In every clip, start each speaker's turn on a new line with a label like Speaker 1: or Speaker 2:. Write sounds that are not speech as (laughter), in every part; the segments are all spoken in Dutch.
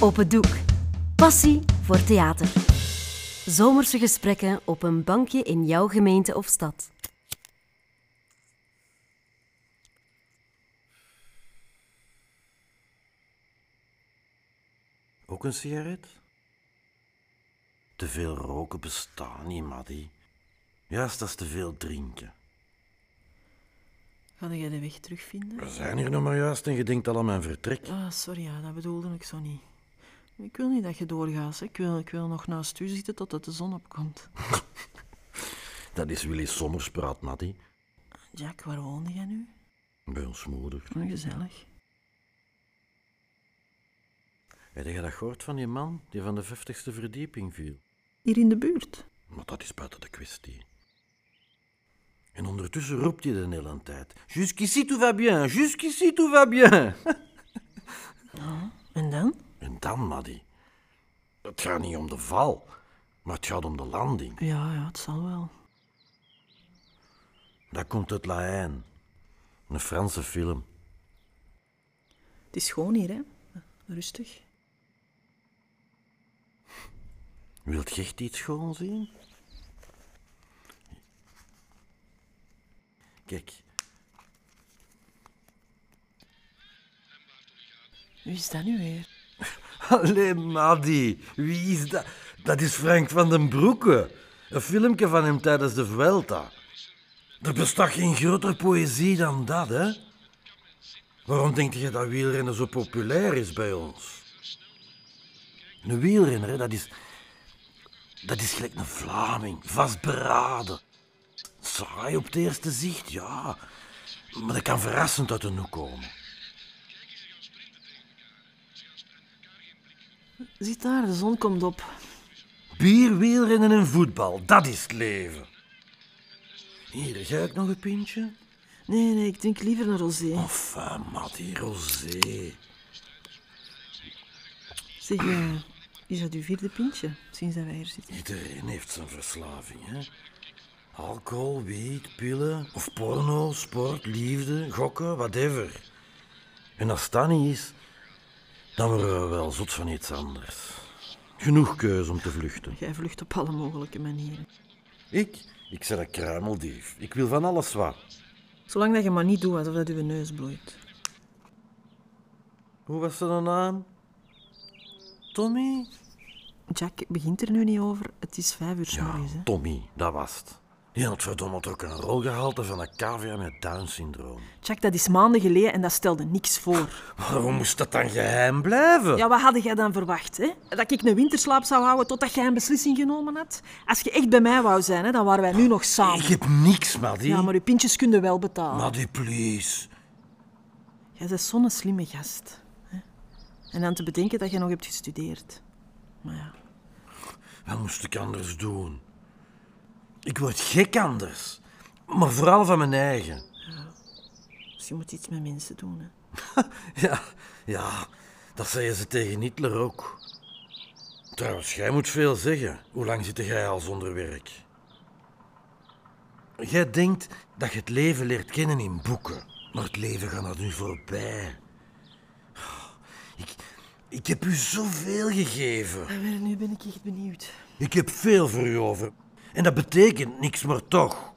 Speaker 1: Op het doek. Passie voor theater. Zomerse gesprekken op een bankje in jouw gemeente of stad.
Speaker 2: Ook een sigaret? Te veel roken bestaat niet, Maddy. Juist dat is te veel drinken.
Speaker 3: Ga jij de weg terugvinden?
Speaker 2: We zijn hier nog maar juist en je denkt al aan mijn vertrek.
Speaker 3: Ah, sorry, ja, dat bedoelde ik zo niet. Ik wil niet dat je doorgaat. hè. Ik wil, ik wil nog naast u zitten totdat de zon opkomt.
Speaker 2: Dat is Willy Sommerspraat, Maddy.
Speaker 3: Jack, waar woonde jij nu?
Speaker 2: Bij ons moeder.
Speaker 3: Oh, Gezellig.
Speaker 2: Heb je dat gehoord van die man die van de vijftigste verdieping viel?
Speaker 3: Hier in de buurt.
Speaker 2: Maar dat is buiten de kwestie. En ondertussen roept hij de hele tijd. Jusqu'ici tout va bien, jusqu'ici tout va bien. (laughs)
Speaker 3: En dan?
Speaker 2: En dan, Maddy. Het gaat niet om de val, maar het gaat om de landing.
Speaker 3: Ja, ja, het zal wel.
Speaker 2: Dat komt uit La Haine. Een Franse film.
Speaker 3: Het is schoon hier, hè? Rustig.
Speaker 2: Wilt je echt iets schoon zien? Kijk,
Speaker 3: Wie is dat nu weer?
Speaker 2: Allee, Maddy, wie is dat? Dat is Frank van den Broeke. Een filmpje van hem tijdens de Vuelta. Er bestaat geen grotere poëzie dan dat, hè? Waarom denk je dat wielrennen zo populair is bij ons? Een wielrenner, hè, dat is... Dat is gelijk een Vlaming, vastberaden. Saai op het eerste zicht, ja. Maar dat kan verrassend uit de hoek komen.
Speaker 3: Zit daar, de zon komt op.
Speaker 2: Bier, wielrennen en voetbal, dat is het leven. Hier, ga ik nog een pintje?
Speaker 3: Nee, nee, ik drink liever een rosé.
Speaker 2: Of, uh, Matty, rosé.
Speaker 3: Zeg, eh, is dat uw vierde pintje sinds dat wij hier zitten?
Speaker 2: Iedereen heeft zijn verslaving, hè? Alcohol, wiet, pillen, of porno, sport, liefde, gokken, whatever. En als dat niet is, dan worden we wel zot van iets anders. Genoeg keuze om te vluchten.
Speaker 3: Jij vlucht op alle mogelijke manieren.
Speaker 2: Ik? Ik ben een kruimeldief. Ik wil van alles wat.
Speaker 3: Zolang dat je maar niet doet alsof dat uw neus bloeit.
Speaker 2: Hoe was zijn naam? Tommy?
Speaker 3: Jack begint er nu niet over. Het is vijf uur 's
Speaker 2: Ja,
Speaker 3: morgens, hè?
Speaker 2: Tommy, dat was het. Die had verdomme ook een rolgehalte van een cavia met Down-syndroom.
Speaker 3: Jack, dat is maanden geleden en dat stelde
Speaker 2: (laughs)
Speaker 3: niks voor.
Speaker 2: Waarom moest dat dan geheim blijven?
Speaker 3: Ja, wat hadden jij dan verwacht, hè? Dat ik een winterslaap zou houden totdat jij een beslissing genomen had? Als je echt bij mij wou zijn, hè, dan waren wij nu nog
Speaker 2: Ik
Speaker 3: samen.
Speaker 2: heb niks, Maddy.
Speaker 3: Ja, maar uw pintjes kun je wel betalen.
Speaker 2: Maddy, please.
Speaker 3: Jij bent zo'n slimme gast. hè. En dan te bedenken dat je nog hebt gestudeerd. Maar ja,
Speaker 2: Wat moest ik anders doen? Ik word gek anders. Maar vooral van mijn eigen.
Speaker 3: dus je moet iets met mensen doen, hè.
Speaker 2: (laughs) Ja, ja, dat zeiden ze tegen Hitler ook. Trouwens, jij moet veel zeggen. Hoe lang zit jij al zonder werk? Jij denkt dat je het leven leert kennen in boeken, maar het leven gaat dat nu voorbij. Ik, ik heb u zoveel gegeven.
Speaker 3: Ah, nu ben ik echt benieuwd.
Speaker 2: Ik heb veel voor u over. En dat betekent niks, maar toch.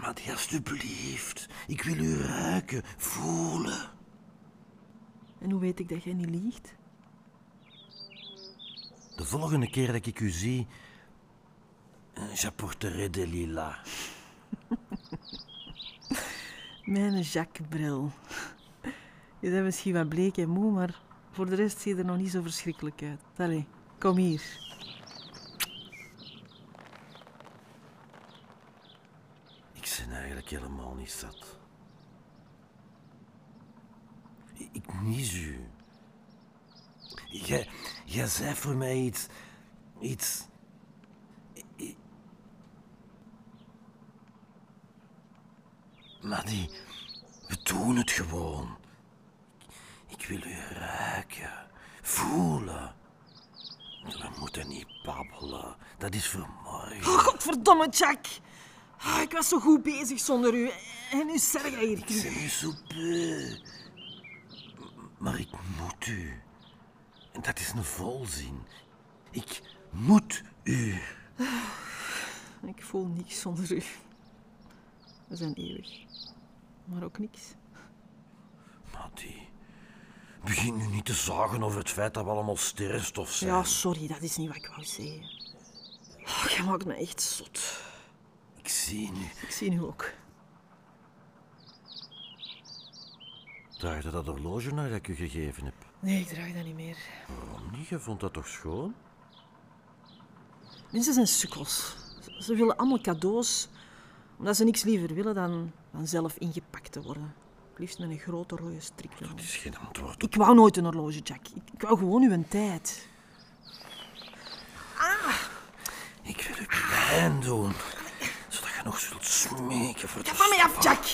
Speaker 2: Matty, alstublieft. Ik wil u ruiken, voelen.
Speaker 3: En hoe weet ik dat jij niet liegt?
Speaker 2: De volgende keer dat ik u zie, eh, j'apporterai de lila.
Speaker 3: Mijn Jacques-bril. (laughs) Je bent misschien wat bleek en moe, maar voor de rest zie je er nog niet zo verschrikkelijk uit. Allee, kom hier.
Speaker 2: Ik ben eigenlijk helemaal niet zat. I- Ik mis u. Jij, jij zei voor mij iets. iets. I- Maddy, we doen het gewoon. Ik wil u ruiken, voelen. We moeten niet babbelen, dat is voor morgen.
Speaker 3: Oh, godverdomme, Jack! Ah, ik was zo goed bezig zonder u. En nu zit jij hier.
Speaker 2: Ik ben u zo beu. M- Maar ik moet u. En dat is een volzin. Ik moet u.
Speaker 3: Ik voel niks zonder u. We zijn eeuwig. Maar ook niks.
Speaker 2: Maddie, begin nu niet te zagen over het feit dat we allemaal sterrenstof zijn.
Speaker 3: Ja, sorry, dat is niet wat ik wou zeggen. Oh, je maakt me echt zot.
Speaker 2: Ik zie nu.
Speaker 3: Ik zie nu ook.
Speaker 2: Draag je dat horloge naar dat ik u gegeven heb?
Speaker 3: Nee, ik draag dat niet meer.
Speaker 2: Waarom niet? Je vond dat toch schoon?
Speaker 3: Mensen zijn sukkels. Ze- Ze willen allemaal cadeaus, omdat ze niks liever willen dan, dan zelf ingepakt te worden. Het liefst met een grote rode strik.
Speaker 2: Dat is geen antwoord op.
Speaker 3: Ik wou nooit een horloge, Jack. Ik, ik wou gewoon uw tijd.
Speaker 2: Ik wil u pijn doen. Zodat je nog zult smeken voor
Speaker 3: Ga
Speaker 2: de
Speaker 3: van mij af, Jack.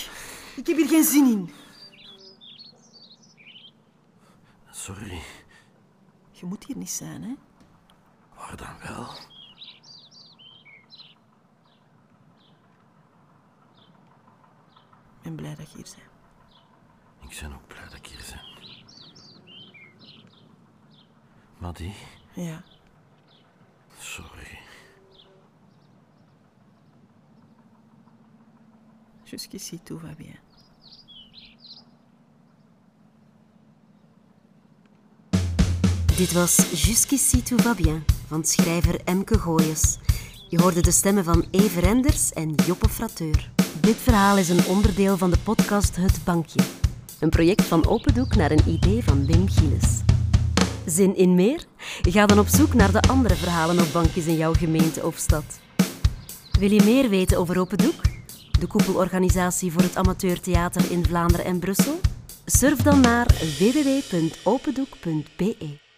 Speaker 3: Ik heb hier geen zin in.
Speaker 2: Sorry,
Speaker 3: Je moet hier niet zijn, hè?
Speaker 2: waar dan wel?
Speaker 3: Ik ben blij dat je hier bent.
Speaker 2: Ik ben ook blij dat ik hier ben. Maddie,
Speaker 3: Ja.
Speaker 2: sorry.
Speaker 3: Jusqu'ici, tout va bien.
Speaker 1: Dit was Jusqu'ici tout va bien van schrijver Emke Gooyes. Je hoorde de stemmen van Eve Renders en Joppe Frateur. Dit verhaal is een onderdeel van de podcast Het Bankje. Een project van Opendoek naar een idee van Wim Gilles. Zin in meer? Ga dan op zoek naar de andere verhalen op bankjes in jouw gemeente of stad. Wil je meer weten over Open Doek? De koepelorganisatie voor het amateurtheater in Vlaanderen en Brussel? Surf dan naar www.opendoek.be.